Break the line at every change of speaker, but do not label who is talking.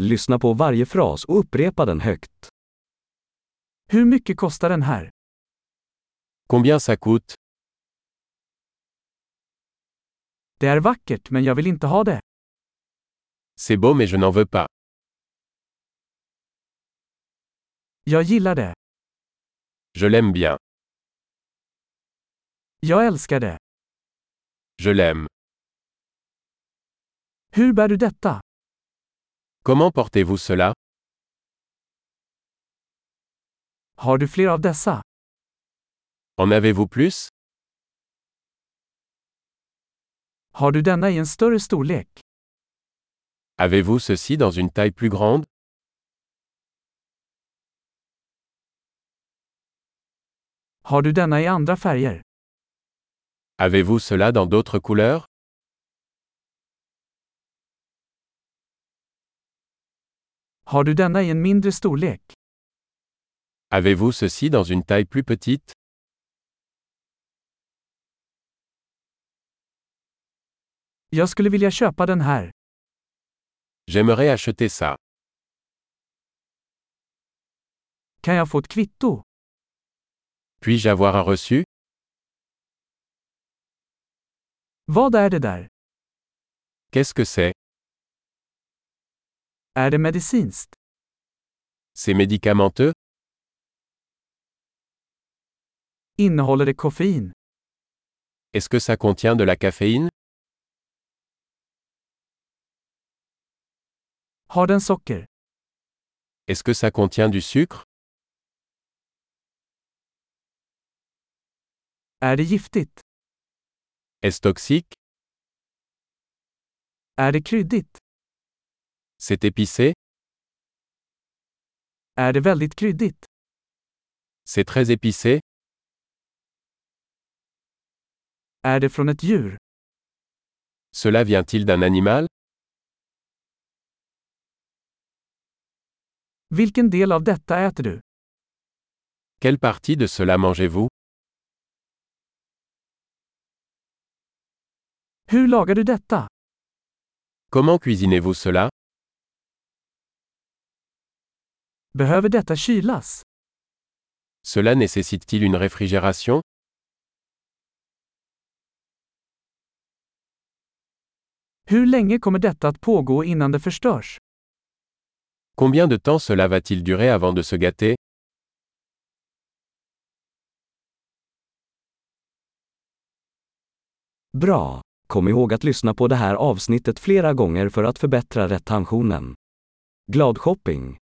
Lyssna på varje fras och upprepa den högt.
Hur mycket kostar den här?
Combien ça coûte
Det är vackert men jag vill inte ha det.
C'est beau mais je n'en veux pas.
Jag gillar det.
Je l'aime bien.
Jag älskar det.
Je l'aime.
Hur bär du detta?
Comment portez-vous cela
Har du fler av dessa?
En avez-vous plus
Har du denna i en större storlek?
Avez-vous ceci dans une taille plus grande
Har du denna i andra färger?
Avez-vous cela dans d'autres couleurs
Har du denna i en mindre storlek?
Avez-vous ceci dans une taille plus petite
Jag skulle vilja köpa den här.
J'aimerais acheter ça.
Kan jag få ett kvitto?
Puis-je avoir un reçu
Vad är det där?
Qu'est-ce que c'est
Är det medicinskt?
C'est médicamenteux
Innehåller det koffein?
Est-ce que ça contient de la caféine
Har den socker?
Est-ce que ça contient du sucre
Är det giftigt?
Est-ce toxique
Är det kryddigt?
C'est épicé
Är det väldigt kryddigt?
C'est très épicé
Är det från ett djur?
Cela vient-il d'un animal
Vilken del av detta äter du?
Quelle partie de cela mangez-vous
Hur lagar du detta?
Comment cuisinez-vous cela
Behöver detta kylas?
Cela nécessite-t-il une réfrigération
Hur länge kommer detta att pågå innan det förstörs?
Combien de temps cela va-t-il durer avant de se gâter
Bra! Kom ihåg att lyssna på det här avsnittet flera gånger för att förbättra retentionen. Glad shopping!